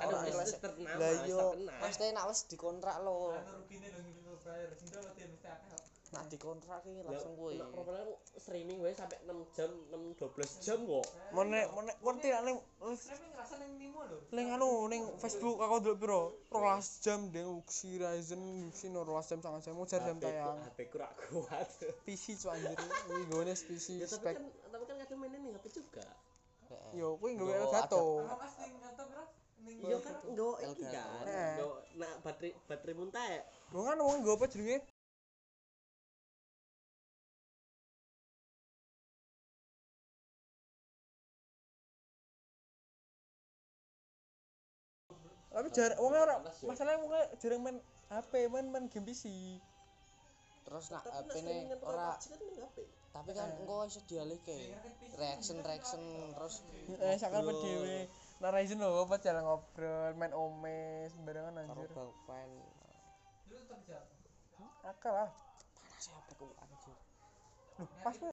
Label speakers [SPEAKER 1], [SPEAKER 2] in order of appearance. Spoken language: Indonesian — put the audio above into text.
[SPEAKER 1] Mas.
[SPEAKER 2] terkenal,
[SPEAKER 1] Lah
[SPEAKER 2] wis
[SPEAKER 1] yo,
[SPEAKER 2] terkenal.
[SPEAKER 1] maksudnya nak wis dikontrak lo.
[SPEAKER 3] Anu rugine lho ngene lho bayar. Sing tok mesti mesti akeh. kok.
[SPEAKER 1] Nak dikontrak iki
[SPEAKER 2] Lah,
[SPEAKER 1] langsung kuwi.
[SPEAKER 2] Nak profil aku streaming wae sampai 6 jam, 6 12 jam kok.
[SPEAKER 1] Mene mene ngerti nak ning
[SPEAKER 3] Tapi ngerasa nang nimo lho.
[SPEAKER 1] ning anu ning Facebook aku ndelok piro? 12 jam ding Uxi Ryzen Uxi 12 jam sangat jam ujar jam
[SPEAKER 2] HP ku-
[SPEAKER 1] tayang.
[SPEAKER 2] HP ku rak kuat.
[SPEAKER 1] PC cu anjir. Iki gone PC
[SPEAKER 2] Ya tapi
[SPEAKER 1] spek.
[SPEAKER 2] kan tapi kan kadang mainnya ning HP juga.
[SPEAKER 1] Yo kuwi nggawe
[SPEAKER 4] Yo,
[SPEAKER 1] Elgato.
[SPEAKER 3] Apa mas ning nonton bro? Ning
[SPEAKER 2] Iya kan nggo iki
[SPEAKER 4] Elgato.
[SPEAKER 2] kan.
[SPEAKER 1] Eh.
[SPEAKER 2] Nggo nak baterai baterai muntah ya.
[SPEAKER 1] Lho kan wong nggawe apa jenenge? Tapi jar wong ora masalah wong jarang main HP, main main game PC.
[SPEAKER 4] terus nak
[SPEAKER 2] Tapi nak
[SPEAKER 4] HP-ne
[SPEAKER 2] streamingan tukang
[SPEAKER 4] ora
[SPEAKER 2] PUBG kan ning HP.
[SPEAKER 4] tapi kan engko iso dialihke reaction reaction terus
[SPEAKER 1] Eh sakal pe dhewe. Nah Ryzen lho apa jarang ngobrol, main ome sembarangan
[SPEAKER 4] karo
[SPEAKER 1] anjir.
[SPEAKER 4] bang fan
[SPEAKER 3] Dulu tetep jam.
[SPEAKER 1] Akal ah.
[SPEAKER 4] panas ya aku anjir
[SPEAKER 1] Duh, pas